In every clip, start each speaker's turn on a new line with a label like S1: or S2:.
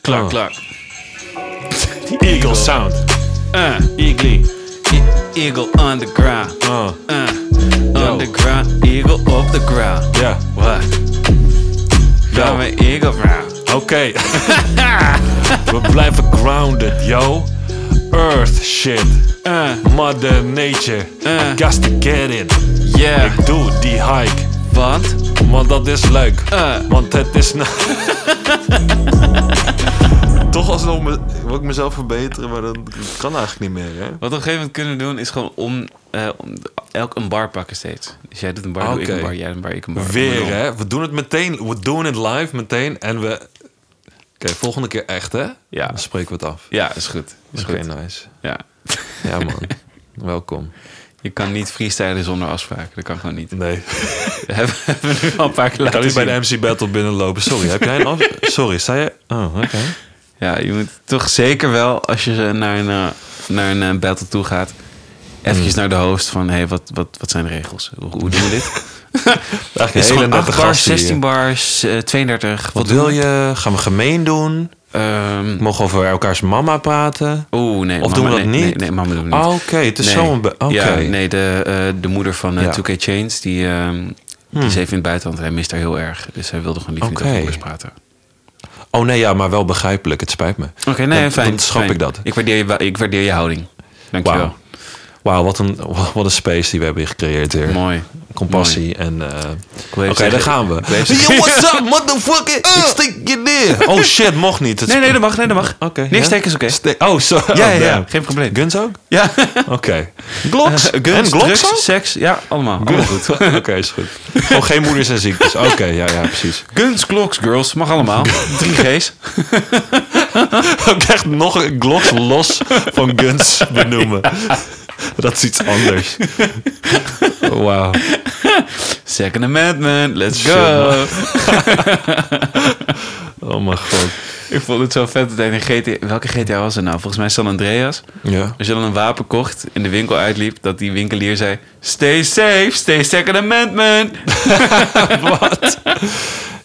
S1: Klak,
S2: Oh.
S1: klak. Eagle sound. Uh,
S2: Eagly.
S1: e- eagle on the ground.
S2: Oh,
S1: Uh, on the ground. Eagle op de ground.
S2: ja.
S1: What?
S2: Yo.
S1: Gaan we eagle round.
S2: Oké. We blijven grounded, yo. Earth shit.
S1: Uh,
S2: Mother nature.
S1: Eh.
S2: Gas to get it.
S1: yeah.
S2: Ik doe die hike.
S1: Want?
S2: Want dat is leuk.
S1: Eh.
S2: Want het is... na- Toch alsnog me, wil ik mezelf verbeteren, maar dat, dat kan eigenlijk niet meer, hè?
S1: Wat we op een gegeven moment kunnen doen is gewoon om, eh, om elk een bar pakken steeds. Dus jij doet een bar, doe ik
S2: Oké.
S1: een bar, jij doet een bar, ik een bar.
S2: Weer,
S1: Maar dan-
S2: hè? We doen het meteen. We doen het live meteen. En we... Oké, volgende keer echt, hè?
S1: Ja.
S2: Dan spreken we het af.
S1: Ja, is goed. Is
S2: Oké, nou.
S1: goed.
S2: nice.
S1: Ja.
S2: Ja, man. Welkom.
S1: Je kan niet freestylen zonder afspraken. Dat kan gewoon niet.
S2: Nee.
S1: Hebben we nu al een paar keer
S2: Ik kan
S1: laten
S2: niet bij de
S1: zien.
S2: MC Battle binnenlopen. Sorry, heb jij een af... Sorry, sta je... Oh, oké.
S1: Ja, je moet toch zeker wel, als je naar een, eh, naar een eh, battle toe gaat, eventjes
S2: Hmm.
S1: naar de host van, hey, wat, wat, wat zijn de regels? Hoe, hoe doen we dit?
S2: Eigenlijk
S1: Is het gewoon 8 bar,
S2: gasten hier.
S1: 16 bars, eh, 32?
S2: Wat
S1: doen
S2: wil
S1: we?
S2: je? Gaan we gemeen doen?
S1: Ehm,
S2: Mogen we over elkaars mama praten?
S1: Oeh, nee.
S2: Of
S1: mama,
S2: doen we dat
S1: nee,
S2: niet?
S1: Nee, nee, mama doen we niet.
S2: Ah, oké, het is
S1: Nee.
S2: zo'n... be- Oké.
S1: Ja, nee, de, eh, de moeder van eh,
S2: Ja. Hmm.
S1: 2K Chains, die, ehm, die is even in het buitenland. en Hij mist haar heel erg. Dus hij wilde gewoon niet
S2: Oké.
S1: okay. over moeders praten.
S2: Oh nee, ja, maar wel begrijpelijk. Het spijt me.
S1: Oké, nee,
S2: Dan-
S1: fijn.
S2: Dan schrap
S1: fijn.
S2: ik dat.
S1: Ik waardeer je, wa- ik waardeer je houding. Dankjewel.
S2: Wauw. Wauw, wat een, wat een space die we hebben hier gecreëerd weer.
S1: Mooi.
S2: Compassie en... eh, Oké,
S1: zeggen-
S2: daar gaan we.
S1: ik wil even
S2: Yo, what's up, motherfucker? Ik steek je neer. Oh shit, mocht niet. Het
S1: Nee, nee,
S2: sp-
S1: dat mag. Nee, dat mag.
S2: Oké,
S1: Niks
S2: ja?
S1: steken is oké.
S2: Ste- oh, sorry.
S1: Ja,
S2: Oh,
S1: ja, ja,
S2: damn.
S1: geen probleem.
S2: Guns ook?
S1: Ja.
S2: Oké. Glocks?
S1: Eh,
S2: en
S1: Guns,
S2: Glocks ook? Oh.
S1: drugs, seks. Ja, allemaal. allemaal goed.
S2: Oké, is goed. Gewoon geen moeders en ziektes. Oké, ja, ja, precies.
S1: Guns, Glocks, girls. Mag allemaal. 3G's.
S2: Ik echt nog een Glocks los van Guns benoemen. Dat is iets anders. Wauw.
S1: Second Amendment. Let's
S2: Shit,
S1: go.
S2: man. Oh mijn god.
S1: Ik vond het zo vet dat hij in GTA... Welke GTA was het nou? Volgens mij San Andreas.
S2: Ja.
S1: Als je dan een wapen kocht en de winkel uitliep, dat die winkelier zei: Stay safe, stay Second Amendment.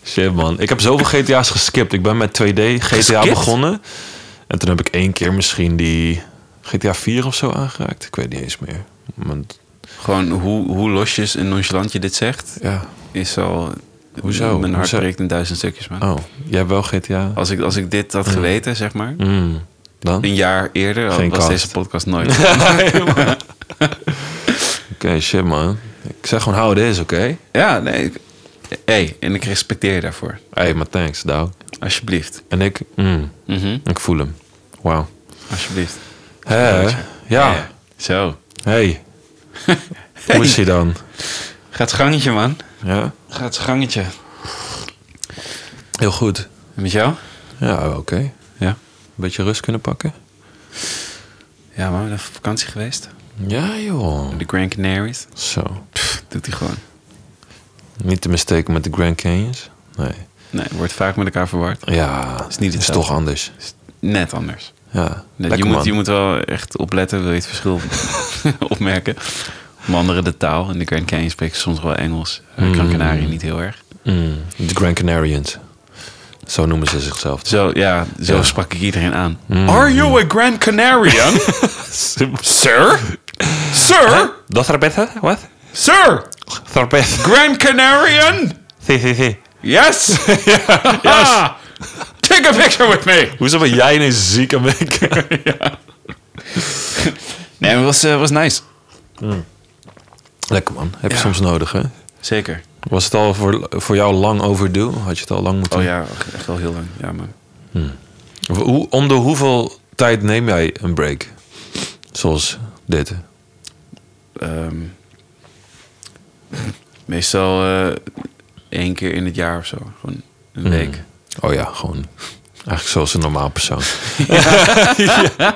S2: Shit, man. Ik heb zoveel GTA's geskipt. Ik ben met 2D GTA
S1: Geskipt?
S2: begonnen. En toen heb ik één keer misschien die GTA 4 of zo aangeraakt. Ik weet niet eens meer. Want,
S1: Gewoon hoe, hoe losjes en nonchalant je dit zegt,
S2: ja.
S1: is al.
S2: Hoezo?
S1: Mijn hart
S2: Hoezo?
S1: breekt in duizend stukjes, man.
S2: Oh, jij hebt wel GTA?
S1: Als, ik, als ik dit had geweten, zeg maar,
S2: Mm, dan?
S1: een jaar eerder,
S2: Geen
S1: was
S2: kast.
S1: deze podcast nooit.
S2: Oké, shit, man. Ik zeg gewoon, hou deze, oké?
S1: ja, nee. ik- hey, en ik respecteer je daarvoor.
S2: hey, maar thanks, Douw.
S1: Alsjeblieft.
S2: En ik, mm,
S1: Mhm,
S2: ik voel hem. Wauw.
S1: Alsjeblieft.
S2: Hé,
S1: Dankje.
S2: ja.
S1: Zo.
S2: Hey. Hoe is hij dan?
S1: Gaat gangetje, man.
S2: Ja?
S1: Gaat gangetje.
S2: Heel goed.
S1: En met jou?
S2: Ja, oké.
S1: Ja.
S2: Een beetje rust kunnen pakken?
S1: Ja, man, we zijn op vakantie geweest.
S2: Ja, joh.
S1: De Grand Canaries.
S2: Zo.
S1: Pff, doet hij gewoon.
S2: Niet te mistaken met de Grand Canyons? Nee.
S1: Nee, wordt vaak met elkaar verward.
S2: Ja,
S1: Is niet
S2: is
S1: hetzelfde.
S2: toch anders.
S1: Is net anders.
S2: Ja,
S1: Net, je,
S2: lekker
S1: moet,
S2: man.
S1: je moet wel echt opletten, wil je het verschil opmerken. Om andere de taal. In de Grand Canyon spreekt ze soms wel Engels. Mm. Gran Canaria niet heel erg.
S2: Mm, de Grand Canarians. Zo noemen ze zichzelf.
S1: Zo, ja, Mm. zo
S2: Ja.
S1: sprak ik iedereen aan. Are you a Grand Canarian? sir? Sir?
S2: Dat Rebecca? Wat?
S1: Sir?
S2: Rebecca.
S1: Grand Canarian?
S2: Si, si, si.
S1: Yes? Ah. Take a picture with me.
S2: Hoezo ben jij een zieke maker?
S1: Nee, het was, eh, was nice.
S2: Lekker man, heb je soms nodig hè?
S1: Zeker.
S2: Was het al voor, voor jou lang overdue? Had je het al lang moeten...
S1: Oh ja, echt al heel lang. Ja, man.
S2: Hoe, om de hoeveel tijd neem jij een break? Zoals dit.
S1: Ehm, meestal eh, één keer in het jaar of zo. Gewoon een week.
S2: Oh ja, gewoon eigenlijk zoals een normaal persoon.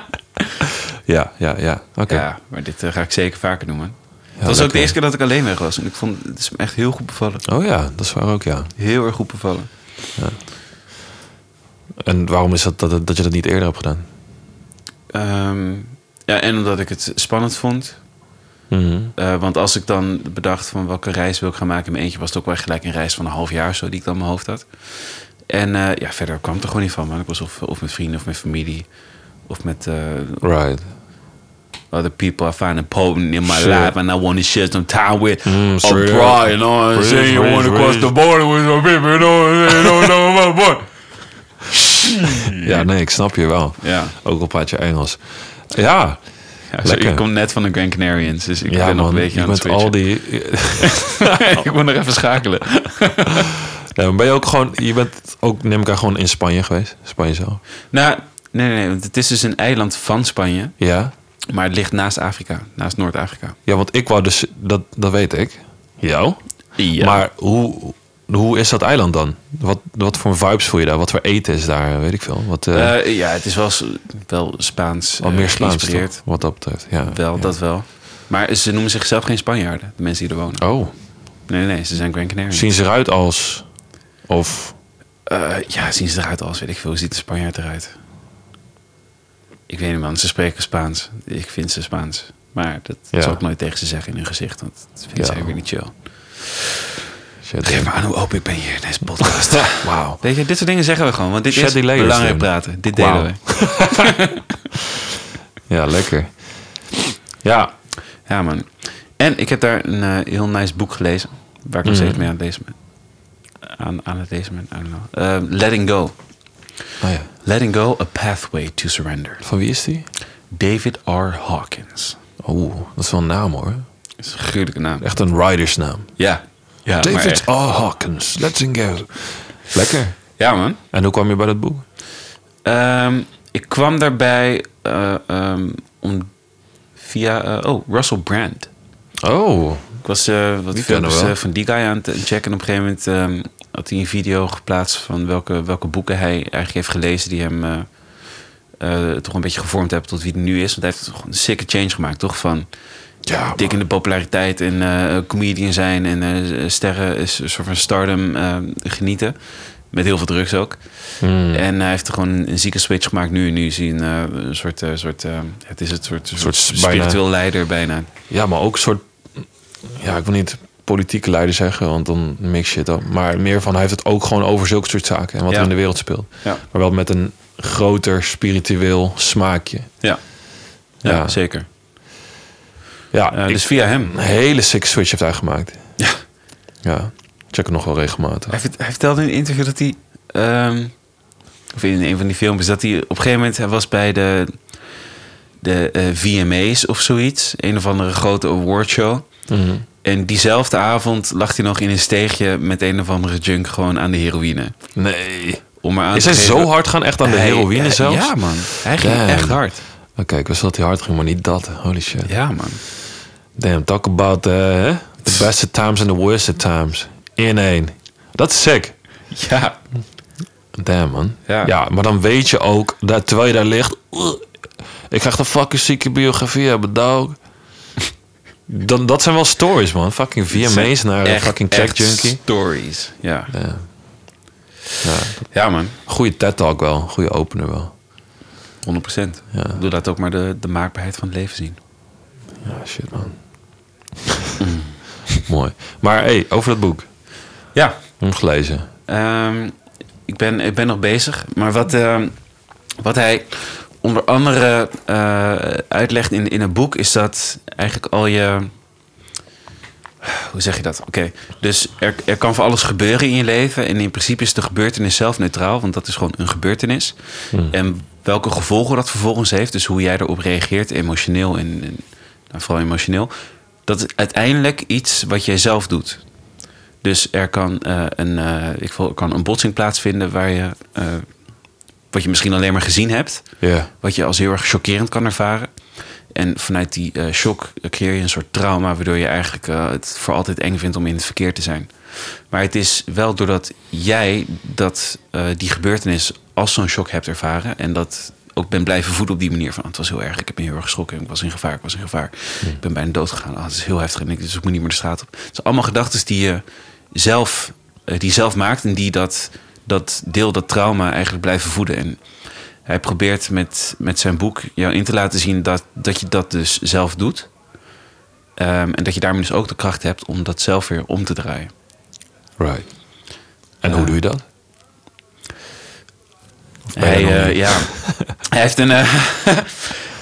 S2: ja, ja, ja. Oké.
S1: Ja, maar dit eh, ga ik zeker vaker doen, man. Het was ook
S2: lekker.
S1: de eerste keer dat ik alleen weg was. En ik vond het is me echt heel goed bevallen.
S2: Oh ja, dat is waar ook ja.
S1: Heel erg goed bevallen.
S2: En waarom is dat dat, dat je dat niet eerder hebt gedaan?
S1: Ehm, ja, en omdat ik het spannend vond.
S2: Mhm.
S1: Eh, want als ik dan bedacht van welke reis wil ik gaan maken in mijn eentje... was het ook wel gelijk een reis van een half jaar of zo die ik dan in mijn hoofd had. En eh, ja, verder kwam het er gewoon niet van. Maar ik was of, of met vrienden of met familie. Of met eh,
S2: Right.
S1: other people I find important in my
S2: Sure.
S1: life. And I want to share some time with
S2: Mm, straight up.
S1: abroad. You know what I'm
S2: Preach,
S1: saying? You
S2: preach,
S1: want to cross the
S2: preach.
S1: border with some people. You know what I'm saying? You know, you know what I'm saying?
S2: Ja, nee, ik snap je wel.
S1: Ja.
S2: Ook al praat je Engels. Ja,
S1: Ja, zo,
S2: Lekker.
S1: ik kom net van de Grand Canarians, dus ik
S2: ja
S1: ben nog
S2: man,
S1: een beetje
S2: je
S1: aan het
S2: bent al
S1: switchen.
S2: die...
S1: ik moet nog even schakelen.
S2: Ja, maar ben je ook gewoon... Je bent ook, neem ik aan, gewoon in Spanje geweest? Spanje zelf?
S1: Nou, nee, nee, nee, want het is dus een eiland van Spanje,
S2: Ja?
S1: maar het ligt naast Afrika, naast Noord-Afrika.
S2: Ja, want ik wou dus... Dat, dat weet ik. Jou?
S1: Ja.
S2: Maar hoe, hoe is dat eiland dan? Wat, wat voor vibes voel je daar? Wat voor eten is daar? Weet ik veel. Wat, eh,
S1: Eh, ja, het is wel, s- wel Spaans
S2: wat
S1: eh,
S2: meer Spaans
S1: geïnspireerd.
S2: toch? Wat dat betreft. Ja,
S1: Wel,
S2: ja.
S1: dat wel. Maar ze noemen zichzelf geen Spanjaarden, de mensen die er wonen.
S2: Oh,
S1: Nee, nee, nee, ze zijn Grand Canarians.
S2: zien ze eruit als... Of...
S1: Eh, ja, zien ze eruit als, weet ik veel, hoe ziet de Spanjaard eruit? Ik weet niet man, ze spreken Spaans. Ik vind ze Spaans. Maar dat
S2: Ja.
S1: zal ik nooit tegen ze zeggen in hun gezicht, want dat vindt
S2: Ja.
S1: zij weer niet chill.
S2: Shit,
S1: Geef maar aan hoe open ik ben hier in deze podcast.
S2: Wauw.
S1: Weet je, dit soort dingen zeggen we gewoon, want dit
S2: Shed
S1: is
S2: die layers
S1: belangrijk
S2: in.
S1: praten. Dit
S2: Wauw.
S1: delen we.
S2: Ja, lekker. Ja.
S1: Ja man. En ik heb daar een eh, heel nice boek gelezen, waar
S2: Mm.
S1: ik nog steeds mee aan het lezen ben. Aan, aan het lezen ben, I don't know. Eh, Letting Go.
S2: Oh ja.
S1: Letting Go, A Pathway to Surrender.
S2: Van wie is die?
S1: David R. Hawkins.
S2: Oeh, dat is wel een naam hoor.
S1: Dat is een gruwelijke naam.
S2: Echt een ridersnaam.
S1: Ja. Ja, maar eh,
S2: David
S1: echt.
S2: R. Hawkins, let's go. Lekker.
S1: ja man.
S2: En hoe kwam je bij dat boek?
S1: Ehm, ik kwam daarbij eh, ehm, om, via... eh, oh, Russell Brand.
S2: Oh,
S1: Ik was eh, wat
S2: Die
S1: filmpjes
S2: kennen we.
S1: eh, van die guy aan het checken. En op een gegeven moment ehm, had hij een video geplaatst... van welke, welke boeken hij eigenlijk heeft gelezen... die hem eh, eh, toch een beetje gevormd hebben tot wie hij nu is. Want hij heeft toch een sikke change gemaakt, toch? Van
S2: ja.
S1: dik in de populariteit en eh, comedian zijn... en eh, sterren, is een soort van stardom eh, genieten. Met heel veel drugs ook.
S2: Hmm,
S1: En hij heeft gewoon een zieke switch gemaakt nu. Nu is hij een, eh, een soort, eh, soort eh, het is het soort, soort,
S2: soort
S1: spiritueel leider bijna.
S2: Ja, maar ook een soort... Ja, ik wil niet politieke leider zeggen, want dan mix je het op. Maar meer van, hij heeft het ook gewoon over zulke soort zaken. En wat
S1: Ja.
S2: er in de wereld speelt.
S1: Ja.
S2: Maar wel met een groter spiritueel smaakje.
S1: Ja, ja,
S2: Ja.
S1: zeker.
S2: Ja,
S1: Eh,
S2: ik-
S1: dus via hem.
S2: een hele sick switch heeft hij gemaakt.
S1: Ja.
S2: Ja, check het nog wel regelmatig.
S1: Hij, vert- hij vertelde in een interview dat hij, ehm, of in een van die filmpjes, dat hij op een gegeven moment hij was bij de, de eh, VMA's of zoiets. Een of andere grote awardshow.
S2: Mhm.
S1: En diezelfde avond lag hij nog in een steegje met een of andere junk gewoon aan de heroïne.
S2: Nee.
S1: Om maar aan
S2: Is
S1: te
S2: hij
S1: geven-
S2: zo hard gaan? Echt aan de
S1: Hij-
S2: heroïne
S1: eh,
S2: zelfs?
S1: Ja, man. Hij ging
S2: Damn.
S1: echt hard.
S2: Oké, ik wist wel dat hij hard ging, maar niet dat. Holy shit.
S1: Ja, man.
S2: Damn, talk about eh, hè? the best times and the worst times. In één. Dat is sick.
S1: Ja.
S2: Damn, man.
S1: Ja.
S2: maar dan weet je ook, dat, terwijl je daar ligt... "Ugh, Ik krijg de fucking zieke biografie hebben, dog. Dan, dat zijn wel stories, man. Fucking VMA's naar een fucking crack junkie.
S1: stories. Ja.
S2: Ja. Ja.
S1: ja, man.
S2: Goeie TED-talk wel. Goeie opener wel.
S1: 100 procent. Doe dat ook maar de, de maakbaarheid van het leven zien.
S2: Ja, Ah, shit, man.
S1: Mm.
S2: Mooi. Maar hey, over dat boek.
S1: Ja.
S2: Hem gelezen.
S1: Ehm, ik, ben, ik ben nog bezig. Maar wat, ehm, wat hij onder andere eh, uitlegt in, in het boek... is dat eigenlijk al je... Hoe zeg je dat? Oké, dus er, er kan van alles gebeuren in je leven. En in principe is de gebeurtenis zelf neutraal. Want dat is gewoon een gebeurtenis. En welke gevolgen dat vervolgens heeft... dus hoe jij erop reageert, emotioneel en, en nou, vooral emotioneel... dat is uiteindelijk iets wat jij zelf doet. Dus er kan, eh, een, eh, ik wil- kan een botsing plaatsvinden waar je, eh, wat je misschien alleen maar gezien hebt,
S2: Ja.
S1: wat je als heel erg chockerend kan ervaren. En vanuit die eh, shock creëer je een soort trauma, waardoor je eigenlijk eh, het voor altijd eng vindt om in het verkeer te zijn. Maar het is wel doordat jij dat, eh, die gebeurtenis als zo'n shock hebt ervaren en dat ook ben blijven voeden op die manier van "Ah, het was heel erg, ik heb me heel erg geschrokken, ik was in gevaar, ik was in gevaar. Ik ben bijna dood gegaan, Ah, het is heel heftig en ik, dus ik moet niet meer de straat op. Het zijn allemaal gedachten die je zelf, eh, die je zelf maakt en die dat, dat deel, dat trauma eigenlijk blijven voeden. En hij probeert met, met zijn boek jou in te laten zien dat, dat je dat dus zelf doet. Ehm, en dat je daarmee dus ook de kracht hebt om dat zelf weer om te draaien.
S2: Right. En hoe doe je dat? ben je
S1: Hij,
S2: dan
S1: eh,
S2: niet?
S1: ja, hij, heeft een, eh,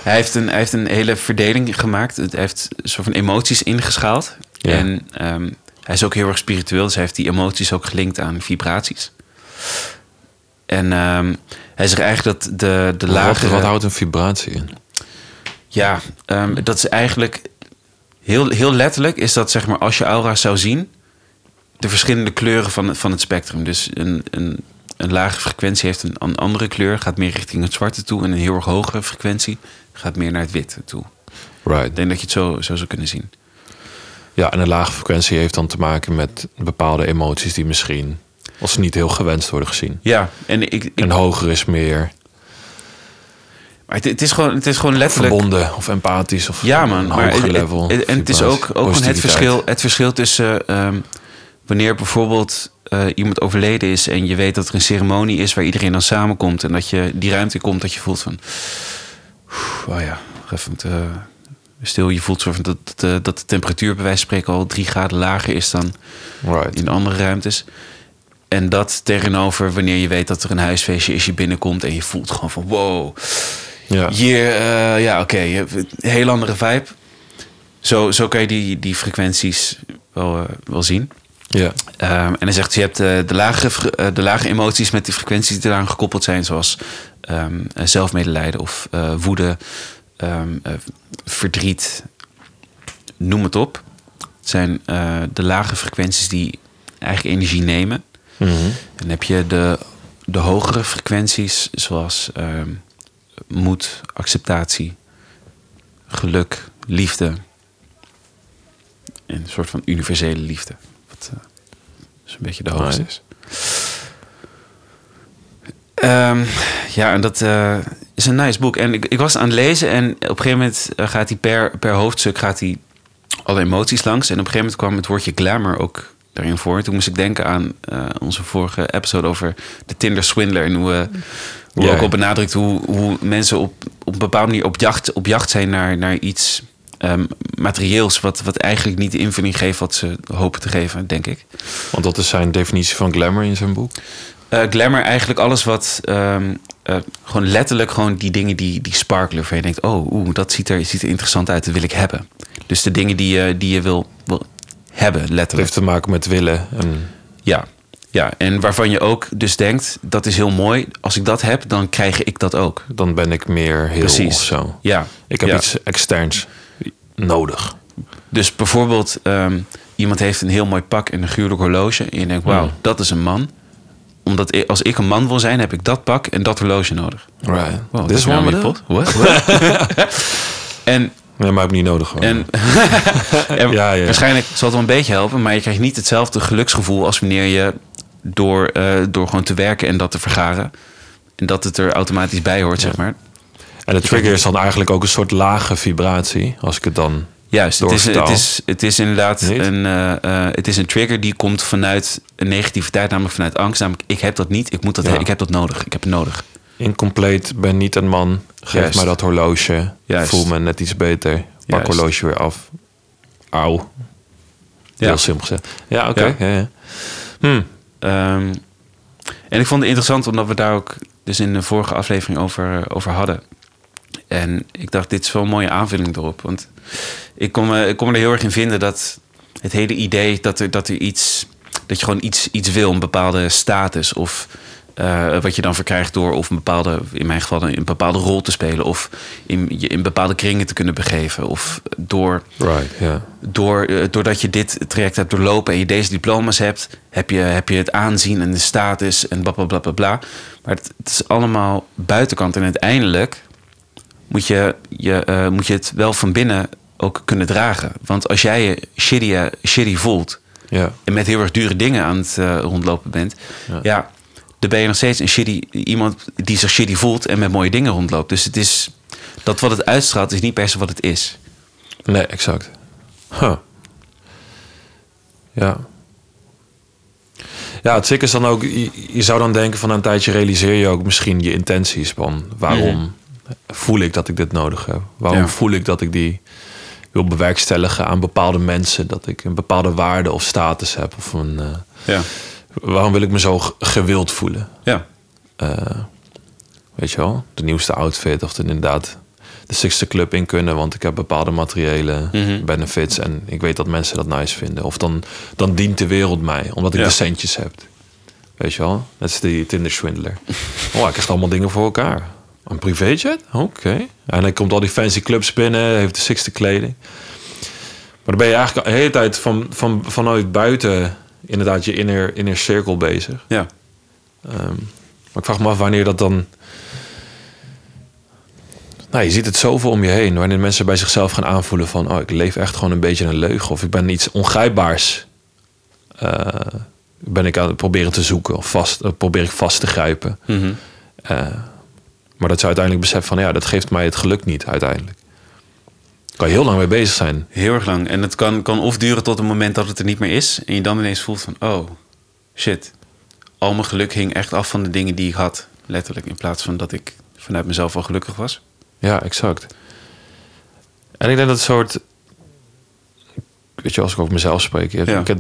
S1: hij, heeft een, hij heeft een hele verdeling gemaakt. Het- Hij heeft een soort van emoties ingeschaald.
S2: Ja.
S1: En ehm, hij is ook heel erg spiritueel. Dus hij heeft die emoties ook gelinkt aan vibraties. En ehm, hij zegt eigenlijk dat de, de lagere...
S2: Wat, wat houdt een vibratie in?
S1: Ja, ehm, dat is eigenlijk heel, heel letterlijk is dat zeg maar als je aura zou zien, de verschillende kleuren van, het- van het spectrum. Dus een, een, een lage frequentie heeft een, een andere kleur, gaat meer richting het zwarte toe. En een heel erg hogere frequentie gaat meer naar het wit toe. Ik
S2: Right.
S1: denk dat je het zo, zo zou kunnen zien.
S2: Ja, en een lage frequentie heeft dan te maken met bepaalde emoties die misschien als niet heel gewenst worden gezien.
S1: Ja, en ik, ik,
S2: En hoger is meer
S1: maar het, het, is gewoon, het is gewoon letterlijk.
S2: verbonden of empathisch of
S1: Ja, man.
S2: een
S1: maar
S2: hoger
S1: het- het-
S2: level.
S1: het- en het is
S2: vibratie,
S1: ook, ook gewoon het,
S2: positiviteit.
S1: verschil, het verschil tussen ehm, wanneer bijvoorbeeld eh, iemand overleden is en je weet dat er een ceremonie is waar iedereen dan samenkomt en dat je die ruimte komt dat je voelt van. "Oeh, Oh ja, even eh, stil. Je voelt soort van dat, dat, eh, dat de temperatuur bij wijze van spreken al drie graden lager is dan
S2: Right.
S1: in andere ruimtes. En dat tegenover wanneer je weet dat er een huisfeestje is, je binnenkomt en je voelt gewoon van wow,
S2: Ja.
S1: hier, eh, ja, oké, je hebt een heel andere vibe. Zo, zo kan je die, die frequenties wel, eh, wel zien.
S2: ja.
S1: Ehm, en dan zegt hij, je hebt eh, de, lage, fre- eh, de lage emoties met die frequenties die eraan gekoppeld zijn, zoals ehm, eh, zelfmedelijden of eh, woede, ehm, eh, verdriet, noem het op. Het zijn eh, de lage frequenties die eigen energie nemen.
S2: Mhm.
S1: En dan heb je de, de hogere frequenties, zoals ehm, moed, acceptatie, geluk, liefde. En een soort van universele liefde. Wat eh, is een beetje de hoogste
S2: Nice.
S1: is. Ehm, ja, en dat eh, is een nice boek. En ik, ik was aan het lezen en op een gegeven moment eh, gaat hij per, per hoofdstuk gaat hij alle emoties langs. En op een gegeven moment kwam het woordje glamour ook daarin voor. En toen moest ik denken aan eh, onze vorige episode over de Tinder Swindler. En hoe, we- hoe we
S2: Ja.
S1: ook al benadrukt hoe, hoe mensen op, op een bepaalde manier op jacht, op jacht zijn naar, naar iets ehm, materieels. Wat, wat eigenlijk niet de invulling geeft wat ze hopen te geven, denk ik.
S2: Want dat is zijn definitie van glamour in zijn boek.
S1: Eh, glamour, eigenlijk alles wat. ehm, eh, gewoon letterlijk gewoon die dingen die, die sparkelen. Waar je denkt, oh, oeh, dat ziet er, ziet er interessant uit. Dat wil ik hebben. Dus de dingen die je, die je wil, wil hebben,
S2: Het
S1: letterlijk.
S2: heeft te maken met willen. En,
S1: Ja. ja, en waarvan je ook dus denkt, dat is heel mooi. Als ik dat heb, dan krijg ik dat ook.
S2: dan ben ik meer heel
S1: Precies.
S2: of zo.
S1: Ja.
S2: Ik heb
S1: ja.
S2: iets externs nodig.
S1: Dus bijvoorbeeld, ehm, iemand heeft een heel mooi pak en een gruwelijk horloge. En je denkt, wauw,
S2: Hmm.
S1: dat is een man. Omdat ik- als ik een man wil zijn, heb ik dat pak en dat horloge nodig.
S2: Right.
S1: Wow,
S2: This
S1: is nou
S2: one
S1: weer
S2: with
S1: pot.
S2: it?
S1: What? en
S2: Nee, maar heb ik niet nodig. hoor.
S1: En, en
S2: Ja, ja.
S1: waarschijnlijk zal het wel een beetje helpen, maar je krijgt niet hetzelfde geluksgevoel als wanneer je door, eh, door gewoon te werken en dat te vergaren. En dat het er automatisch bij hoort, zeg maar.
S2: En de trigger is dan eigenlijk ook een soort lage vibratie. Als ik het dan.
S1: Juist, het is, het,
S2: Doorvertaal.
S1: is, het is inderdaad
S2: Niet?
S1: een, eh, eh, het is een trigger die komt vanuit een negativiteit, namelijk vanuit angst. Namelijk, ik heb dat niet, ik, moet dat
S2: Ja.
S1: he- ik heb dat nodig, ik heb het nodig.
S2: Incompleet, ben niet een man. Geef
S1: Juist.
S2: mij dat horloge.
S1: Juist.
S2: Voel me net iets beter. Pak
S1: Juist.
S2: horloge weer af. Auw.
S1: Ja.
S2: Heel simpel gezegd. Ja, oké.
S1: Ja.
S2: Ja. Ja, Hm.
S1: Ehm, en ik vond het interessant omdat we daar ook dus in de vorige aflevering over, over hadden. En ik dacht, dit is wel een mooie aanvulling erop. Want ik kon, me- ik kon me er heel erg in vinden dat het hele idee dat er, dat er iets. dat je gewoon iets, iets wil, een bepaalde status. of eh, wat je dan verkrijgt door. of een bepaalde, in mijn geval, een bepaalde rol te spelen. of in, je in bepaalde kringen te kunnen begeven. of door
S2: Right, ja.
S1: door, eh, doordat je dit traject hebt doorlopen en je deze diploma's hebt, heb je, heb je het aanzien en de status en bla bla bla bla. bla. Maar het, het is allemaal buitenkant. En uiteindelijk moet je, je, eh, moet je het wel van binnen ook kunnen dragen. Want als jij je shitty, eh, shitty voelt
S2: Ja.
S1: en met heel erg dure dingen aan het eh, rondlopen bent, ja.
S2: Ja.
S1: dan ben je nog steeds een shitty, iemand die zich shitty voelt en met mooie dingen rondloopt. Dus het is, dat wat het uitstraalt is niet per se wat het is.
S2: Nee, exact. Huh. Ja. Ja, het sick is dan ook... Je, je zou dan denken van na een tijdje realiseer je ook misschien je intenties van... waarom voel ik dat ik dit nodig heb? Waarom
S1: Ja.
S2: voel ik dat ik die wil bewerkstelligen aan bepaalde mensen? Dat ik een bepaalde waarde of status heb? Of een, eh,
S1: Ja,
S2: waarom wil ik me zo g- gewild voelen?
S1: ja.
S2: Weet je wel? De nieuwste outfit of de, inderdaad de sixte club in kunnen. Want ik heb bepaalde materiële
S1: Mhm.
S2: benefits. En ik weet dat mensen dat nice vinden. Of dan, dan dient de wereld mij. Omdat ik
S1: Ja.
S2: de centjes heb. Weet je wel? Dat is die Tinder-swindler. oh, ik krijg allemaal dingen voor elkaar. Een privéjet? Oké. En hij komt al die fancy clubs binnen. Heeft de sixte kleding. Maar dan ben je eigenlijk de hele tijd van, van, vanuit buiten... inderdaad je inner, inner cirkel bezig.
S1: Ja.
S2: Ehm, maar ik vraag me af wanneer dat dan. Nou, je ziet het zoveel om je heen. Wanneer mensen bij zichzelf gaan aanvoelen van... oh, ik leef echt gewoon een beetje een leugen. Of ik ben iets ongrijpbaars. eh, ben ik aan het proberen te zoeken. Of vast, eh, probeer ik vast te grijpen.
S1: Mhm.
S2: Eh, maar dat ze uiteindelijk beseffen van... ja, dat geeft mij het geluk niet uiteindelijk. Daar kan je heel lang mee bezig zijn.
S1: Heel erg lang. En het kan, kan of duren tot het moment dat het er niet meer is. En je dan ineens voelt van, oh, shit. Al mijn geluk hing echt af van de dingen die ik had. Letterlijk. In plaats van dat ik vanuit mezelf al gelukkig was.
S2: Ja, exact. En ik denk dat het soort... Weet je, als ik over mezelf spreek... je-
S1: Ja.
S2: Ik, heb,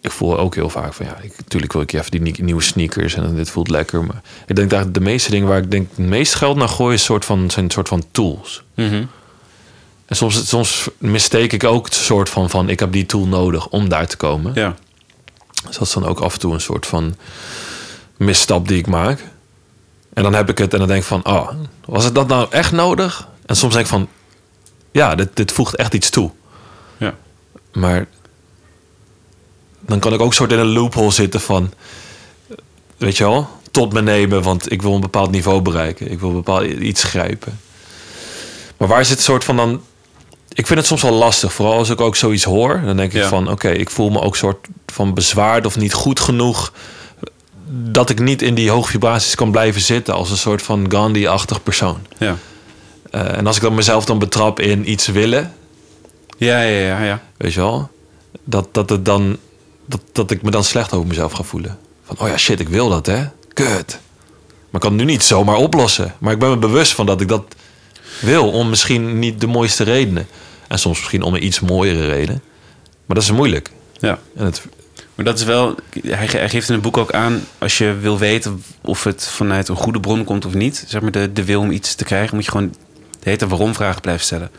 S2: ik voel ook heel vaak van... ja, ik, natuurlijk wil ik even die nie- nieuwe sneakers... en dit voelt lekker. Maar ik denk dat de meeste dingen waar ik denk... het meest geld naar gooi is soort van, zijn soort van tools. En soms, soms mistake ik ook het soort van, van... ik heb die tool nodig om daar te komen.
S1: Ja.
S2: Dus dat is dan ook af en toe een soort van misstap die ik maak. En dan heb ik het en dan denk ik van, oh, was het dat nou echt nodig? En soms denk ik van, ja, dit, dit voegt echt iets toe.
S1: Ja.
S2: Maar dan kan ik ook soort in een loophole zitten van, weet je wel, tot me nemen, want ik wil een bepaald niveau bereiken. Ik wil bepaald iets grijpen. Maar waar zit het soort van dan? Ik vind het soms wel lastig, vooral als ik ook zoiets hoor. Dan denk ik
S1: Ja.
S2: van, oké, ik voel me ook soort van bezwaard of niet goed genoeg dat ik niet in die hoge vibraties kan blijven zitten als een soort van Gandhi-achtig persoon.
S1: Ja.
S2: Eh, en als ik dan mezelf dan betrap in iets willen,
S1: Ja, ja, ja. ja.
S2: weet je wel, dat, dat, het dan, dat, dat ik me dan slecht over mezelf ga voelen. Van, oh ja, shit, ik wil dat, hè? Kut. Maar ik kan het nu niet zomaar oplossen. Maar ik ben me bewust van dat ik dat wil, om misschien niet de mooiste redenen. En soms misschien om een iets mooiere reden. Maar dat is moeilijk.
S1: ja.
S2: En het,
S1: Maar dat is wel, hij, ge- hij geeft in het boek ook aan, als je wil weten of het vanuit een goede bron komt of niet, zeg maar de, de wil om iets te krijgen, moet je gewoon de hele tijd waarom vragen blijven stellen.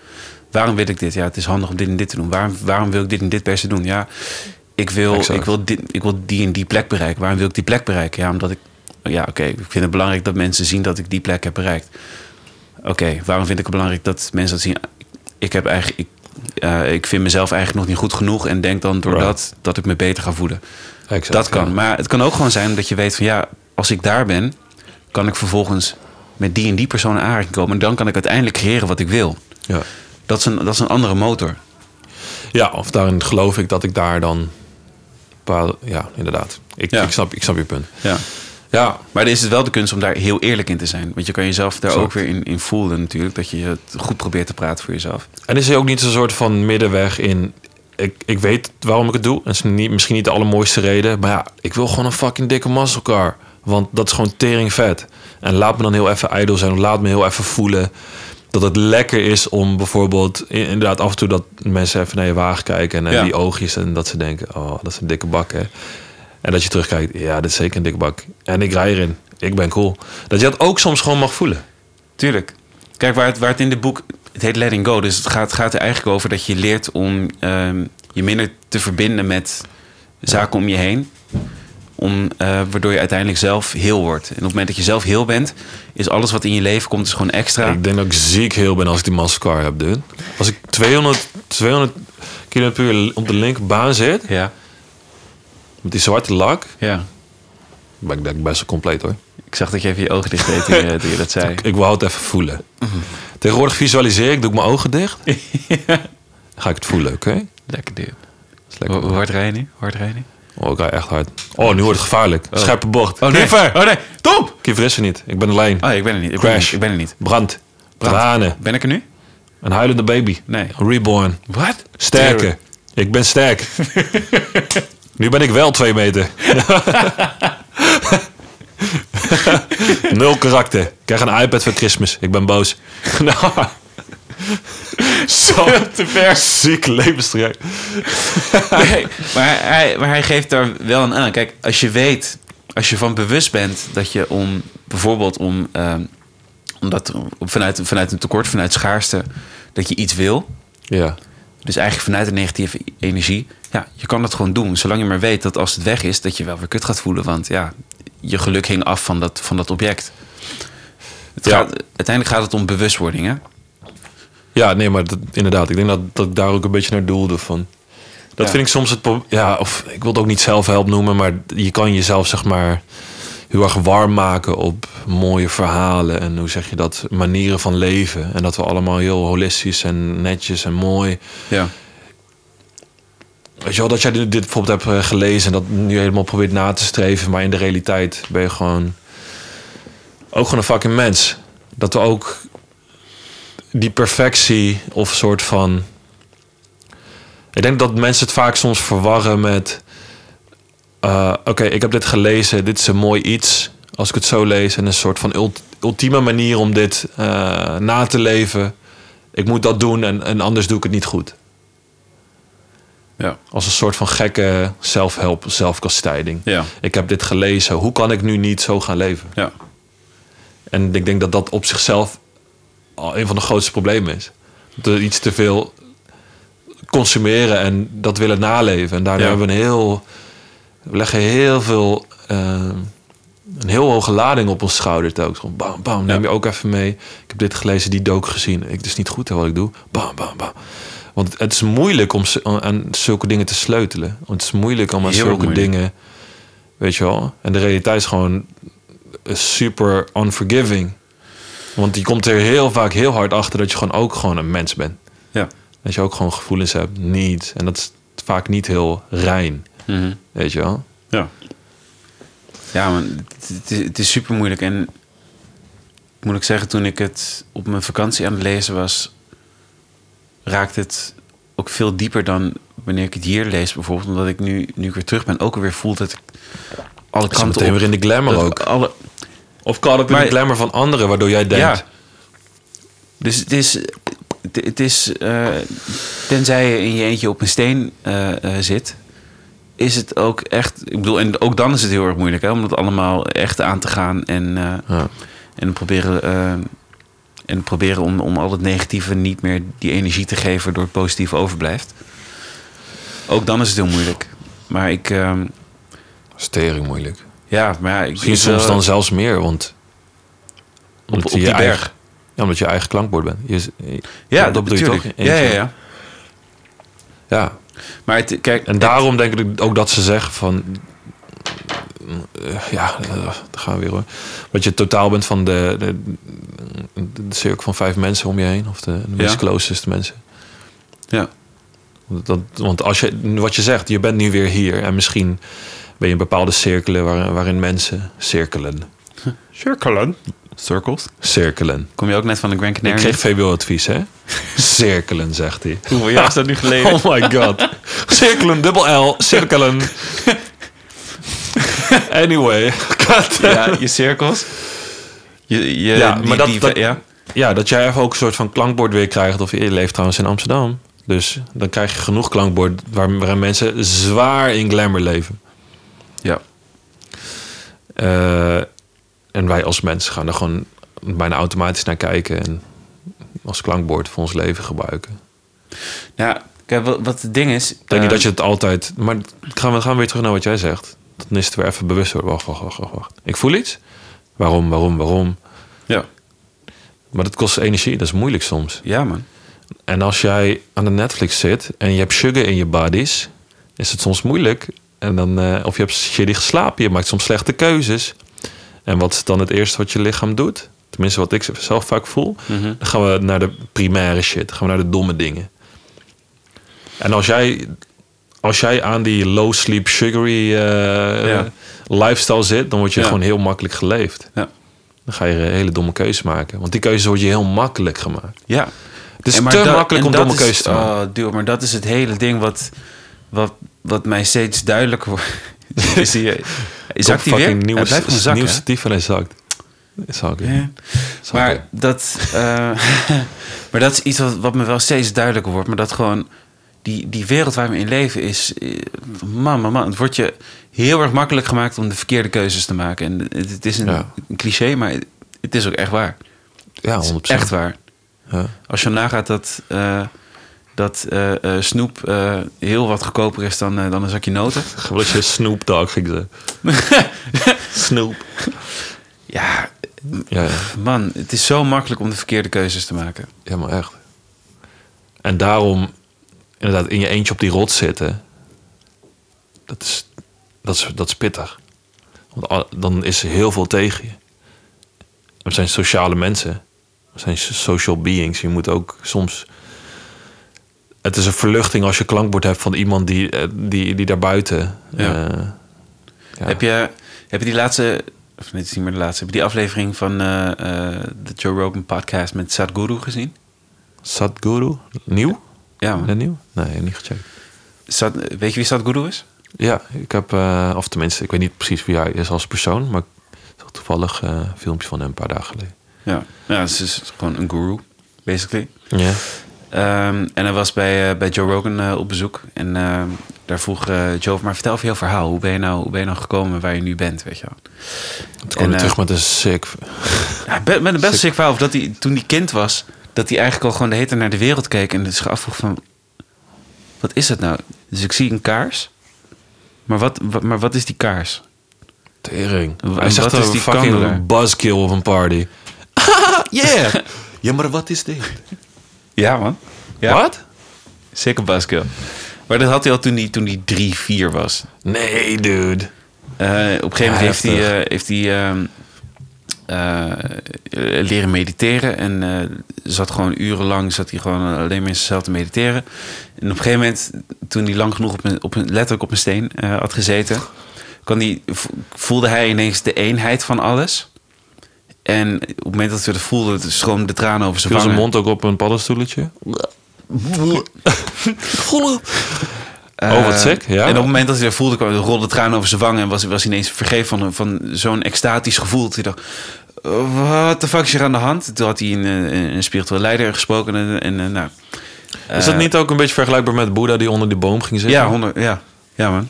S1: Waarom wil ik dit? Ja, het is handig om dit en dit te doen. Waarom, waarom wil ik dit en dit per se doen? Ja, ik wil,
S2: Exact.
S1: ik, wil dit, ik wil die en die plek bereiken. Waarom wil ik die plek bereiken? Ja, omdat ik, ja oké, ik vind het belangrijk dat mensen zien dat ik die plek heb bereikt. Oké, waarom vind ik het belangrijk dat mensen dat zien? Ik, heb eigenlijk, ik, eh, ik vind mezelf eigenlijk nog niet goed genoeg en denk dan door
S2: Right.
S1: dat dat ik me beter ga voelen.
S2: exact,
S1: Dat kan.
S2: ja.
S1: Maar het kan ook gewoon zijn dat je weet van ja, als ik daar ben, kan ik vervolgens met die en die persoon in aanraking komen. En dan kan ik uiteindelijk creëren wat ik wil.
S2: Ja.
S1: Dat is een, dat is een andere motor.
S2: Ja, of daarin geloof ik dat ik daar dan. bepaalde- Ja, inderdaad. Ik,
S1: Ja.
S2: ik, snap, ik snap je punt.
S1: Ja.
S2: Ja,
S1: Maar dan is het wel de kunst om daar heel eerlijk in te zijn. Want je kan jezelf daar
S2: Exact.
S1: ook weer in, in voelen natuurlijk. Dat je het goed probeert te praten voor jezelf.
S2: en is er ook niet zo'n soort van middenweg in. Ik, ik weet waarom ik het doe. En is niet, misschien niet de allermooiste reden. Maar ja, ik wil gewoon een fucking dikke muscle car. Want dat is gewoon tering vet. En laat me dan heel even ijdel zijn. Of laat me heel even voelen dat het lekker is om bijvoorbeeld. in- Inderdaad, af en toe dat mensen even naar je wagen kijken. En eh,
S1: Ja.
S2: die oogjes. En dat ze denken: oh, dat is een dikke bak hè. En dat je terugkijkt, ja, dit is zeker een dikke bak. En ik rij erin. Ik ben cool. Dat je dat ook soms gewoon mag voelen.
S1: Tuurlijk. Kijk, waar het, waar het in dit boek... Het heet Letting Go. Dus het gaat, gaat er eigenlijk over dat je leert om ehm, je minder te verbinden met zaken om je heen. Om, eh, waardoor je uiteindelijk zelf heel wordt. En op het moment dat je zelf heel bent... is alles wat in je leven komt, is gewoon extra.
S2: Ik denk dat ik ziek heel ben als ik die mascar heb, dude. Als ik 200, 200 km per uur op de linkerbaan zit,
S1: Ja.
S2: met die zwarte lak,
S1: ja.
S2: ben ik denk ik best wel compleet hoor.
S1: Ik zag dat je even je ogen dicht deed toen je, toen je dat zei.
S2: Ik wou het even voelen.
S1: Mhm.
S2: Tegenwoordig visualiseer ik, doe ik mijn ogen dicht. Dan ga ik het voelen, oké?
S1: Lekker duur.
S2: Dat is
S1: Hoe
S2: lekker.
S1: hoe hard rij je nu? Hoe hard rij je nu?
S2: Oh, ik rij echt hard. Oh, nu wordt het gevaarlijk. Scherpe bocht.
S1: Oh nee.
S2: Kiefer!
S1: Oh nee. Tom!
S2: Kiefer is er niet. Ik ben alleen.
S1: Oh, ik ben er niet. Ik ben er
S2: Crash.
S1: niet. Ik ben er niet.
S2: Brand.
S1: Brand.
S2: Tranen.
S1: Ben ik er nu?
S2: Een huilende baby.
S1: Nee.
S2: Reborn.
S1: Wat?
S2: Sterker. Ik ben sterk. nu ben ik wel twee meter. Nul karakter. Ik krijg een iPad voor Christmas. Ik ben boos. nou, zo
S1: Te ver.
S2: ziek levenstraject.
S1: Nee, maar, hij, maar hij geeft daar wel een aan. Kijk, als je weet, als je van bewust bent dat je om bijvoorbeeld om, ehm, omdat er vanuit, vanuit een tekort, vanuit schaarste, dat je iets wil.
S2: Ja.
S1: Dus eigenlijk vanuit een negatieve energie. Ja, je kan dat gewoon doen. Zolang je maar weet dat als het weg is, dat je wel weer kut gaat voelen. Want ja, je geluk hing af van dat, van dat object. Het
S2: Ja.
S1: gaat, uiteindelijk gaat het om bewustwording, hè?
S2: Ja, nee, maar dat, inderdaad. Ik denk dat, dat ik daar ook een beetje naar doelde van. Dat
S1: Ja.
S2: vind ik soms het pro- Ja, of ik wil het ook niet zelfhelp noemen, maar je kan jezelf zeg maar heel erg warm maken op mooie verhalen en hoe zeg je dat, manieren van leven. En dat we allemaal heel holistisch en netjes en mooi.
S1: Ja.
S2: Weet je wel, dat jij dit, dit bijvoorbeeld hebt eh, gelezen en dat nu helemaal probeert na te streven, maar in de realiteit ben je gewoon ook gewoon een fucking mens. Dat we ook die perfectie of soort van. Ik denk dat mensen het vaak soms verwarren met. eh, Oké, ik heb dit gelezen, dit is een mooi iets. Als ik het zo lees, en een soort van ult- ultieme manier om dit eh, na te leven. Ik moet dat doen en, en anders doe ik het niet goed.
S1: Ja.
S2: Als een soort van gekke zelfhelp, zelfkastijding.
S1: Ja.
S2: Ik heb dit gelezen, hoe kan ik nu niet zo gaan leven?
S1: Ja.
S2: En ik denk dat dat op zichzelf al een van de grootste problemen is. Dat we iets te veel consumeren en dat willen naleven. En daardoor
S1: Ja.
S2: hebben we een heel... We leggen heel veel... eh, een heel hoge lading op ons schouder telkens. Gewoon bam, bam, neem je ook even mee. Ik heb dit gelezen, die dook gezien. Ik, het is niet goed hè, wat ik doe. Bam, bam, bam. Want het is moeilijk om z- aan zulke dingen te sleutelen. Want het is moeilijk om aan
S1: Heel
S2: zulke
S1: moeilijk.
S2: dingen... Weet je wel? En de realiteit is gewoon eh, super unforgiving. Want die komt er heel vaak heel hard achter dat je gewoon ook gewoon een mens bent.
S1: Ja.
S2: Dat je ook gewoon gevoelens hebt. Niet. En dat is vaak niet heel rein.
S1: Mhm.
S2: Weet je wel?
S1: Ja. Ja, man, het, het is- het is super moeilijk. En moet ik zeggen, toen ik het op mijn vakantie aan het lezen was, raakte het ook veel dieper dan wanneer ik het hier lees, bijvoorbeeld. Omdat ik nu, nu ik weer terug ben, ook alweer voel dat ik alle
S2: Kan
S1: kanten
S2: meteen weer in de glamour
S1: dat
S2: ook.
S1: Alle,
S2: Of kan het in de
S1: Maar-
S2: glamour van anderen, waardoor jij denkt...
S1: Ja. Dus het is. Het, het is eh, tenzij je in je eentje op een steen eh, eh, zit, is het ook echt. Ik bedoel, en ook dan is het heel erg moeilijk hè, om dat allemaal echt aan te gaan en, eh,
S2: Ja.
S1: en proberen. eh, en proberen om, om al het negatieve niet meer die energie te geven door het positieve overblijft. Ook dan is het heel moeilijk. Maar ik. ehm,
S2: Dat is tering moeilijk.
S1: ja, maar ja, ik.
S2: Misschien
S1: ik,
S2: soms
S1: eh,
S2: dan zelfs meer, want... Omdat
S1: op
S2: je
S1: die
S2: je
S1: berg.
S2: eigen- ja, omdat je eigen klankbord bent. Je, je-
S1: Ja,
S2: dat
S1: dat
S2: bedoel je
S1: natuurlijk.
S2: toch?
S1: Ja, ja,
S2: Eentje.
S1: ja.
S2: ja.
S1: Maar het, kijk,
S2: En daarom denk ik ook dat ze zeggen van... eh, ja, eh, daar gaan we weer hoor. Dat je totaal bent van de, de, de, de cirkel van vijf mensen om je heen. Of de, de meest
S1: Ja.
S2: closest mensen.
S1: ja,
S2: Want Dat, want als je, wat je zegt, je bent nu weer hier. En misschien ben je in bepaalde cirkelen waar, waarin mensen cirkelen.
S1: Cirkelen. Circles.
S2: Cirkelen.
S1: Kom je ook net van de Grand
S2: Ik
S1: Canary?
S2: kreeg VBO-advies, hè? Cirkelen, zegt hij.
S1: Hoeveel jaar is dat nu geleden?
S2: Oh my god. Cirkelen, dubbel L, cirkelen. Anyway. God.
S1: ja, je cirkels. Je, je,
S2: Ja,
S1: die-
S2: maar dat-
S1: die-
S2: dat-
S1: ja.
S2: Ja, dat jij even ook een soort van klankbord weer krijgt. Of je leeft trouwens in Amsterdam. Dus dan krijg je genoeg klankbord waar, waarin mensen zwaar in glamour leven.
S1: Ja.
S2: Eh, en wij als mensen gaan er gewoon bijna automatisch naar kijken. En als klankbord voor ons leven gebruiken. Ik
S1: Nou, kijk, wat, wat het ding is... eh,
S2: denk niet dat je het altijd... Maar gaan we, gaan we weer terug naar wat jij zegt. Dan is het weer even bewust worden. Wacht, wacht, wacht, wacht, wacht. Ik voel iets. Waarom, waarom, waarom?
S1: Ja,
S2: Maar dat kost energie. Dat is moeilijk soms.
S1: ja man.
S2: En als jij aan de Netflix zit en je hebt sugar in je bodies, is het soms moeilijk. En dan, eh, of je hebt shitty geslapen, je maakt soms slechte keuzes. En wat is dan het eerste wat je lichaam doet? Tenminste, wat ik zelf vaak voel.
S1: Mhm.
S2: Dan gaan we naar de primaire shit. Dan gaan we naar de domme dingen. En als jij, als jij aan die low sleep sugary eh,
S1: Ja.
S2: lifestyle zit, dan word je
S1: Ja.
S2: gewoon heel makkelijk geleefd.
S1: Ja.
S2: Dan ga je hele domme keuzes maken. Want die keuzes word je heel makkelijk gemaakt.
S1: Ja.
S2: Het is
S1: En maar
S2: te
S1: dat-
S2: makkelijk
S1: en
S2: om
S1: dat
S2: domme
S1: is-
S2: keuzes te maken.
S1: Oh, dude, maar dat is het hele ding wat, wat, wat mij steeds duidelijker wordt. is die, zakt die weer?
S2: Nieuwe,
S1: Hij blijft gewoon zakken,
S2: nieuwe
S1: hè?
S2: statief en hij zakt. Zak, ja.
S1: Ja.
S2: Zak, ja.
S1: Maar dat, eh, maar dat is iets wat, wat me wel steeds duidelijker wordt. Maar dat gewoon die, die wereld waar we in leven is. eh, Man, man, man. Het wordt je heel erg makkelijk gemaakt om de verkeerde keuzes te maken. En het, het is een,
S2: Ja.
S1: een cliché, maar het, het is ook echt waar.
S2: Ja,
S1: Het is
S2: 100%.
S1: echt waar.
S2: Ja.
S1: Als je nagaat dat, eh, dat eh, eh, snoep eh, heel wat goedkoper is dan, eh, dan een zakje noten.
S2: Gewoon dat je Snoop Dogg ging zeggen. Snoop.
S1: Ja,
S2: Ja, ja.
S1: man, het is zo makkelijk om de verkeerde keuzes te maken.
S2: Ja, maar echt. En daarom inderdaad in je eentje op die rot zitten. Dat is, dat is, dat is pittig. Want al- dan is er heel veel tegen je. We zijn sociale mensen. We zijn so- social beings. Je moet ook soms... Het is een verluchting als je klankbord hebt van iemand die, eh, die, die daarbuiten...
S1: Ja.
S2: eh, ja.
S1: Heb, je, heb je die laatste, of nee, het is niet meer de laatste, heb je die aflevering van eh, eh, de Joe Rogan podcast met Sadhguru gezien?
S2: Sadhguru? Nieuw?
S1: Ja, man.
S2: Net nieuw? Nee, niet gecheckt.
S1: Sad- weet je wie Sadhguru is?
S2: Ja, ik heb, eh, of tenminste, ik weet niet precies wie hij is als persoon, maar ik zag toevallig eh, een filmpje van hem een paar dagen geleden.
S1: Ja, ja ze is gewoon een guru, basically.
S2: Ja.
S1: Ehm, en hij was bij, eh, bij Joe Rogan eh, op bezoek. En ehm, daar vroeg eh, Joe, maar vertel even jouw verhaal. Hoe ben, je nou, hoe ben je nou gekomen waar je nu bent, weet je wel?
S2: Toen kwam
S1: En,
S2: hij
S1: eh,
S2: terug met een sick.
S1: Ja, be- met een best sick verhaal. Of dat hij toen hij kind was, dat hij eigenlijk al gewoon de hele tijd naar de wereld keek. En dus afvroeg van, wat is dat nou? Dus ik zie een kaars. Maar wat, wat, maar wat is die kaars?
S2: Tering.
S1: En
S2: Hij zegt
S1: wat
S2: dat
S1: is
S2: een
S1: die
S2: fucking
S1: kandelaar?
S2: buzzkill of een party. yeah! ja, maar wat is dit?
S1: Ja, man.
S2: Wat?
S1: Zeker Basco. Maar dat had hij al toen hij, toen hij drie, vier was.
S2: Nee, dude.
S1: Eh, op een gegeven moment heeft
S2: Heftig.
S1: hij, eh, heeft hij ehm, eh, eh, leren mediteren. En eh, zat gewoon urenlang zat hij gewoon alleen maar in zichzelf te mediteren. En op een gegeven moment, toen hij lang genoeg op een, op een, letterlijk op een steen eh, had gezeten... Kan die, vo- voelde hij ineens de eenheid van alles. En op het moment dat hij dat voelde, stroomden de tranen over zijn
S2: Viel zijn
S1: wangen.
S2: mond ook op een paddenstoeletje? Oh, wat
S1: Eh,
S2: sick, ja.
S1: En op het moment dat hij dat voelde, kwam, rolde tranen over zijn wangen. En was, was hij ineens vergeven van, van zo'n extatisch gevoel. Dat hij dacht, wat de fuck is hier aan de hand? Toen had hij een, eh, een spiritueel leider gesproken. En, en, eh, nou,
S2: Is dat niet ook een beetje vergelijkbaar met Boeddha die onder die boom ging zitten?
S1: ja, honderd, ja, ja man.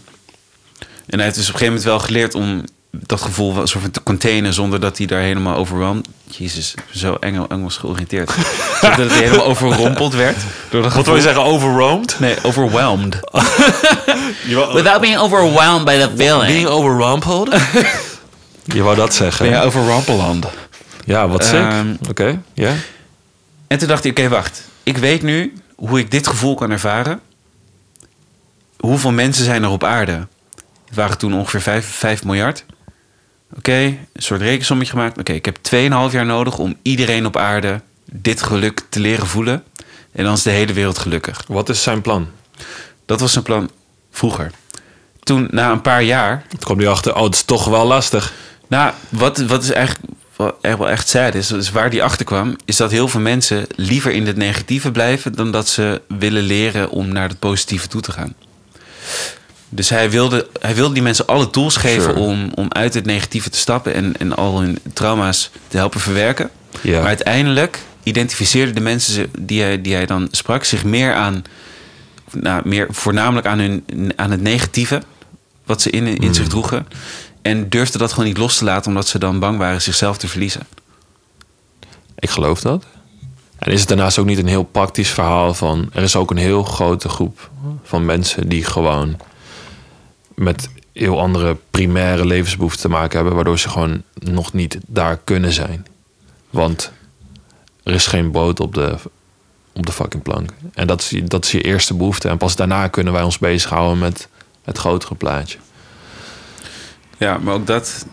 S1: En hij heeft dus op een gegeven moment wel geleerd om dat gevoel wel soort van te containen. Zonder dat hij daar helemaal overweldigd... Jezus, zo engel, Engels georiënteerd. Zonder dat hij helemaal overrompeld werd. Door dat
S2: Wat Oh, wil
S1: gevoel.
S2: je zeggen, overwhelmed?
S1: Nee, overwhelmed. Without being overwhelmed by the feeling.
S2: Being overrumpeld? je wou dat zeggen.
S1: Ja, over Rampeland.
S2: Ja, wat sick.
S1: Ehm,
S2: Oké, ja.
S1: En toen dacht ik, oké, wacht. Ik weet nu hoe ik dit gevoel kan ervaren. Hoeveel mensen zijn er op aarde? Het waren toen ongeveer 5, miljard. Oké, een soort rekensommetje gemaakt. Oké, ik heb 2,5 jaar nodig om iedereen op aarde dit geluk te leren voelen. En dan is de hele wereld gelukkig.
S2: Wat is zijn plan?
S1: Dat was zijn plan vroeger. Toen, na een paar jaar,
S2: Het kwam hij achter, oh, het is toch wel lastig.
S1: Nou, wat, wat is eigenlijk wat echt wel echt sad is, is waar die achter kwam, is dat heel veel mensen liever in het negatieve blijven dan dat ze willen leren om naar het positieve toe te gaan. Dus hij wilde, hij wilde die mensen alle tools geven
S2: Sure.
S1: om, om uit het negatieve te stappen en, en al hun trauma's te helpen verwerken.
S2: Ja.
S1: Maar uiteindelijk identificeerden de mensen ze- die hij, die hij dan sprak zich meer aan, nou, meer voornamelijk aan, hun, aan het negatieve, wat ze in, in zich droegen. En durfden dat gewoon niet los te laten, omdat ze dan bang waren zichzelf te verliezen.
S2: Ik geloof dat. En is het daarnaast ook niet een heel praktisch verhaal van... er is ook een heel grote groep van mensen die gewoon... met heel andere primaire levensbehoeften te maken hebben... waardoor ze gewoon nog niet daar kunnen zijn. Want er is geen brood op de, op de fucking plank. En dat is, je- dat is je eerste behoefte. En pas daarna kunnen wij ons bezighouden met het grotere plaatje.
S1: Ja, maar ook dat.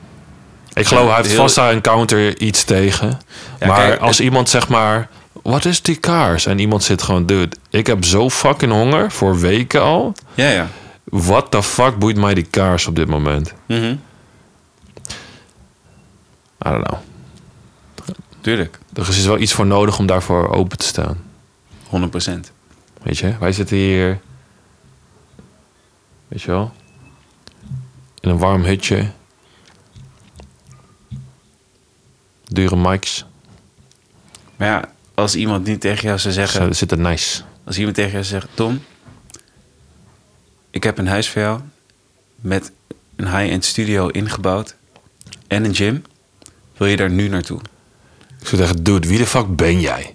S2: Ik geloof, hij
S1: Ja,
S2: heeft
S1: heel-
S2: vast daar een counter iets tegen.
S1: Ja,
S2: maar
S1: kijk,
S2: als iemand zeg maar, wat is die kaars? En iemand zit gewoon, dude, ik heb zo fucking honger voor weken al.
S1: Ja, ja.
S2: What the fuck boeit mij die kaars op dit moment?
S1: Mhm.
S2: I don't know.
S1: Tuurlijk,
S2: Er is wel iets voor nodig om daarvoor open te staan.
S1: 100 procent.
S2: Weet je, wij zitten hier, weet je wel, in een warm hutje. Dure mics.
S1: Maar ja, als iemand niet tegen jou zou zeggen.
S2: Ze zitten nice.
S1: Als iemand tegen jou zegt: Tom, ik heb een huis voor jou met een high-end studio ingebouwd en een gym. Wil je daar nu naartoe?
S2: Ik zou zeggen, dude, wie de fuck ben jij?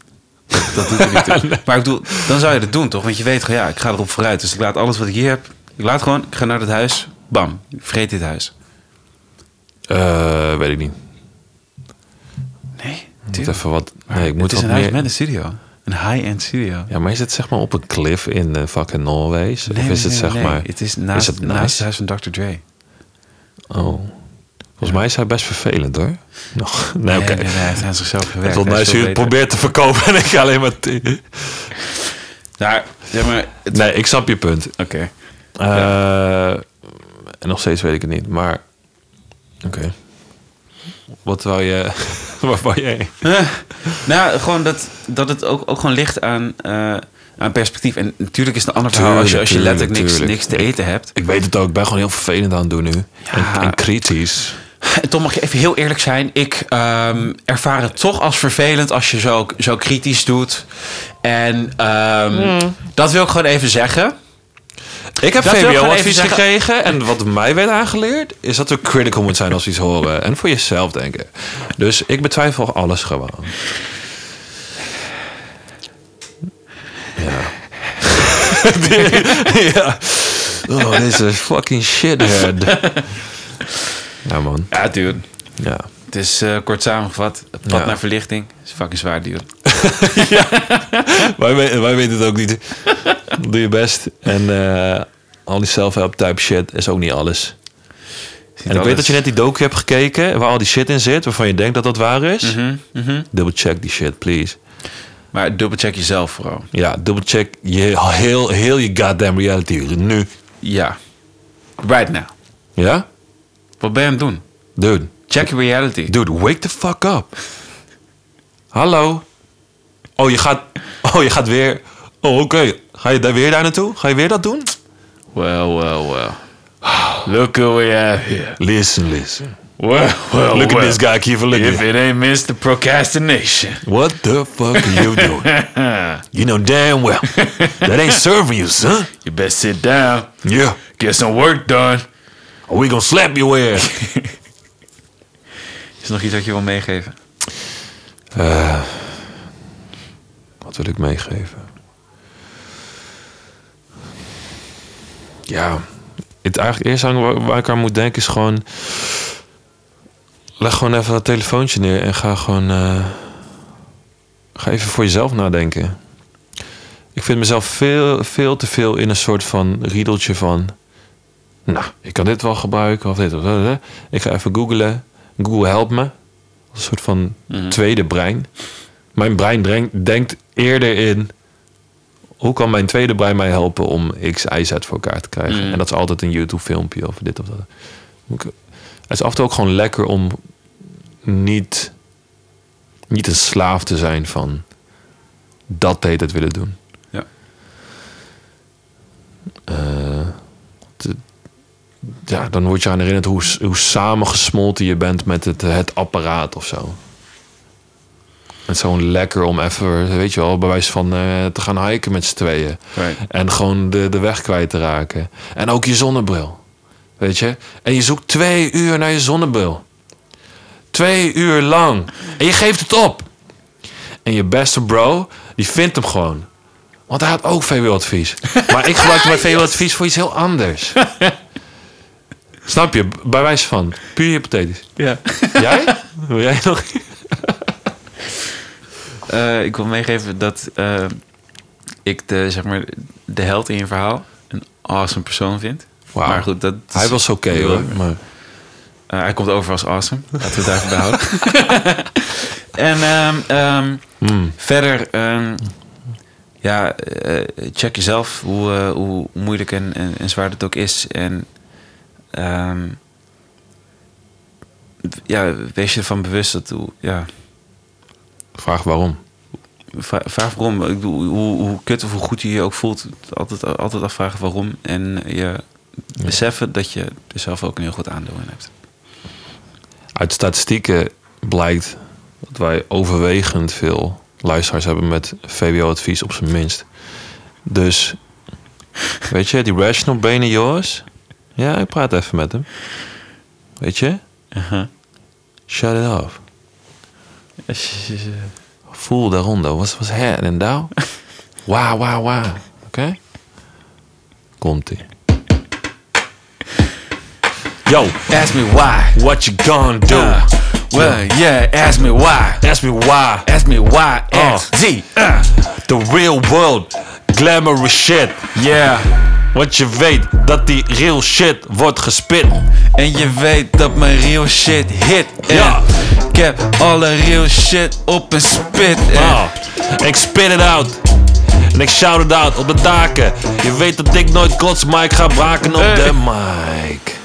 S1: Dat doet er niet toe. Maar ik bedoel, dan zou je dat doen toch? Want je weet gewoon, ja, ik ga erop vooruit. Dus ik laat alles wat ik hier heb. Ik laat gewoon, ik ga naar dat huis. Bam, ik vreet dit huis.
S2: Eh, weet ik niet.
S1: Nee,
S2: Ik
S1: dude.
S2: moet even wat... Nee, ik moet
S1: het is
S2: wat
S1: een huis
S2: meer...
S1: met een studio. Een high-end studio.
S2: Ja, maar is het zeg maar op een cliff in eh, fucking Norway? of
S1: Nee,
S2: is
S1: nee,
S2: het
S1: nee,
S2: zeg
S1: nee.
S2: maar...
S1: Het is naast,
S2: is het
S1: naast het
S2: nice?
S1: huis van Dr. Dre.
S2: Oh. Volgens mij is hij best vervelend hoor. Nog. Nee, oké.
S1: nee, nee, hij heeft aan zichzelf gewerkt.
S2: Tot
S1: Hij
S2: nu
S1: is veel
S2: toe
S1: beter.
S2: probeert te verkopen en ik ga alleen maar... te-
S1: Nou, ja, maar... het-
S2: Nee, ik snap je punt.
S1: Oké.
S2: Eh, En nog steeds weet ik het niet, maar... Oké. Wat wou je... Waar wou jij...
S1: Nou, gewoon dat, dat het ook, ook gewoon ligt aan, eh, aan perspectief. En natuurlijk is het een ander verhaal als je, als je
S2: Tuurlijk,
S1: letterlijk niks,
S2: tuurlijk.
S1: niks te eten hebt.
S2: Ik weet het ook, ik ben gewoon heel vervelend aan het doen nu. En, en kritisch.
S1: En Tom, mag je even heel eerlijk zijn? Ik ehm, ervaar het toch als vervelend als je zo, zo kritisch doet. En ehm, dat wil ik gewoon even zeggen.
S2: Ik heb
S1: Dat wil ik gewoon even
S2: VWO-advies
S1: zeggen.
S2: gekregen. En wat mij werd aangeleerd, is dat we critical moeten zijn als we iets horen. En voor jezelf denken. Dus ik betwijfel alles gewoon. Ja. ja. Oh, this is fucking shithead. Ja, man.
S1: Ja, dude.
S2: Ja.
S1: Het is eh, kort samengevat. Het pad
S2: Ja.
S1: naar verlichting is fucking zwaar, dude.
S2: Wij, we- wij weten het ook niet. Doe je best. En eh, al die self-help type shit is ook niet alles. En ik weet dat je net die docu hebt gekeken waar al die shit in zit, waarvan je denkt dat dat waar is. Double check die shit, please.
S1: Maar dubbelcheck jezelf vooral.
S2: Ja, double check je heel, heel je goddamn reality nu.
S1: Ja. Right now.
S2: Ja?
S1: Wat ben je aan het doen?
S2: Dude,
S1: Check your reality.
S2: dude, wake the fuck up. Hallo. Oh, je gaat, oh, je gaat weer. Oh, oké. Ga je daar weer daar naartoe? Ga je weer dat doen?
S1: Well, well, well. Look who we have here.
S2: Listen, listen.
S1: Well, well,
S2: Look at
S1: well.
S2: this guy, keep
S1: If
S2: looking.
S1: it ain't Mr. Procrastination.
S2: What the fuck are you doing? You know damn well. That ain't serving you, son.
S1: You best sit down.
S2: Yeah.
S1: Get some work done.
S2: Or we gonna slap your ass.
S1: Is er nog iets wat je wil meegeven?
S2: Wat wil ik meegeven? Ja, het eigenlijk eerst aan waar, waar ik aan moet denken is gewoon... Leg gewoon even dat telefoontje neer en ga gewoon... eh, ga even voor jezelf nadenken. Ik vind mezelf veel, veel te veel in een soort van riedeltje van... Nou, ik kan dit wel gebruiken of dit of dat. Ik ga even googlen. Google helpt me. Een soort van tweede brein. Mijn brein dreng- denkt eerder in... hoe kan mijn tweede brein mij helpen om X, Y, Z voor elkaar te krijgen?
S1: Mhm.
S2: En dat is altijd een YouTube-filmpje of dit of dat. Moet ik- Het is af en toe ook gewoon lekker om niet, niet een slaaf te zijn van... dat de hele tijd willen doen.
S1: Ja.
S2: Eh, te- ja, dan word je aan herinnerd hoe, s- hoe samengesmolten je bent met het, het apparaat of zo. Het is gewoon lekker om even, weet je wel, bij wijze van eh, te gaan hiken met z'n tweeën.
S1: Right.
S2: En gewoon de, de weg kwijt te raken. En ook je zonnebril. Weet je? En je zoekt twee uur naar je zonnebril. Twee uur lang. En je geeft het op. En je beste bro, die vindt hem gewoon. Want hij had ook VWO-advies. Maar ik gebruikte mijn VWO-advies voor iets heel anders. Snap je? Bij wijze van. Puur hypothetisch.
S1: Ja.
S2: Jij? Wil jij nog?
S1: Eh, ik wil meegeven dat eh, ik de, zeg maar, de held in je verhaal een awesome persoon vind.
S2: Wauw.
S1: Maar goed, dat is-
S2: Hij was oké hoor. Maar...
S1: Eh, hij komt over als awesome. Laten we het daarvoor behouden. en ehm, ehm,
S2: Mm.
S1: verder, ehm, ja, eh, check jezelf hoe, eh, hoe moeilijk en, en, en zwaar het ook is. En ehm, ja, wees je ervan bewust dat hoe, ja,
S2: Vraag waarom.
S1: vra- vraag waarom. Ik bedoel, hoe, hoe kut of hoe goed je je ook voelt, altijd, altijd afvragen waarom. En je beseffen dat je er zelf ook een heel goed aandoen in hebt.
S2: Uit statistieken blijkt dat wij overwegend veel luisteraars hebben met VWO-advies op zijn minst. Dus, weet je, die rational brainen jongens, Ja, ik praat even met hem. Weet je?
S1: Uh-huh.
S2: Shut it off. Voel daaronder. What's, what's happening now? Wow, wow, wow. Oké? Komt-ie. Yo,
S1: Ask me why.
S2: what you gonna do?
S1: Uh, well, yeah, ask me why.
S2: Ask me why.
S1: Ask me why.
S2: Oh.
S1: X, Z. Uh,
S2: The real world. Glamorous shit.
S1: yeah.
S2: Want je weet dat die real shit wordt gespit.
S1: En je weet dat mijn real shit hit. En
S2: Ja.
S1: Ik heb alle real shit op een spit. En
S2: Ah, en ik spit it out. En ik shout it out op de daken. Je weet dat ik nooit kots, maar ik ga braken op
S1: Hey.
S2: de mic.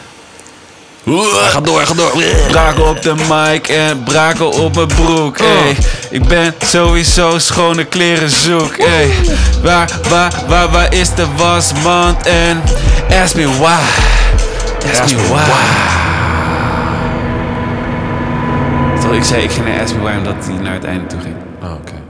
S2: Hij gaat door, hij gaat door.
S1: Braken op de mic en braken op mijn broek. Ey. Ik ben sowieso schone kleren zoek. Ey. Waar, waar, waar, waar is de wasmand? En ask me why. Ask, me why. Terwijl ik zei, ik ging naar ask me why omdat hij naar het einde toe ging.
S2: Oh, oké.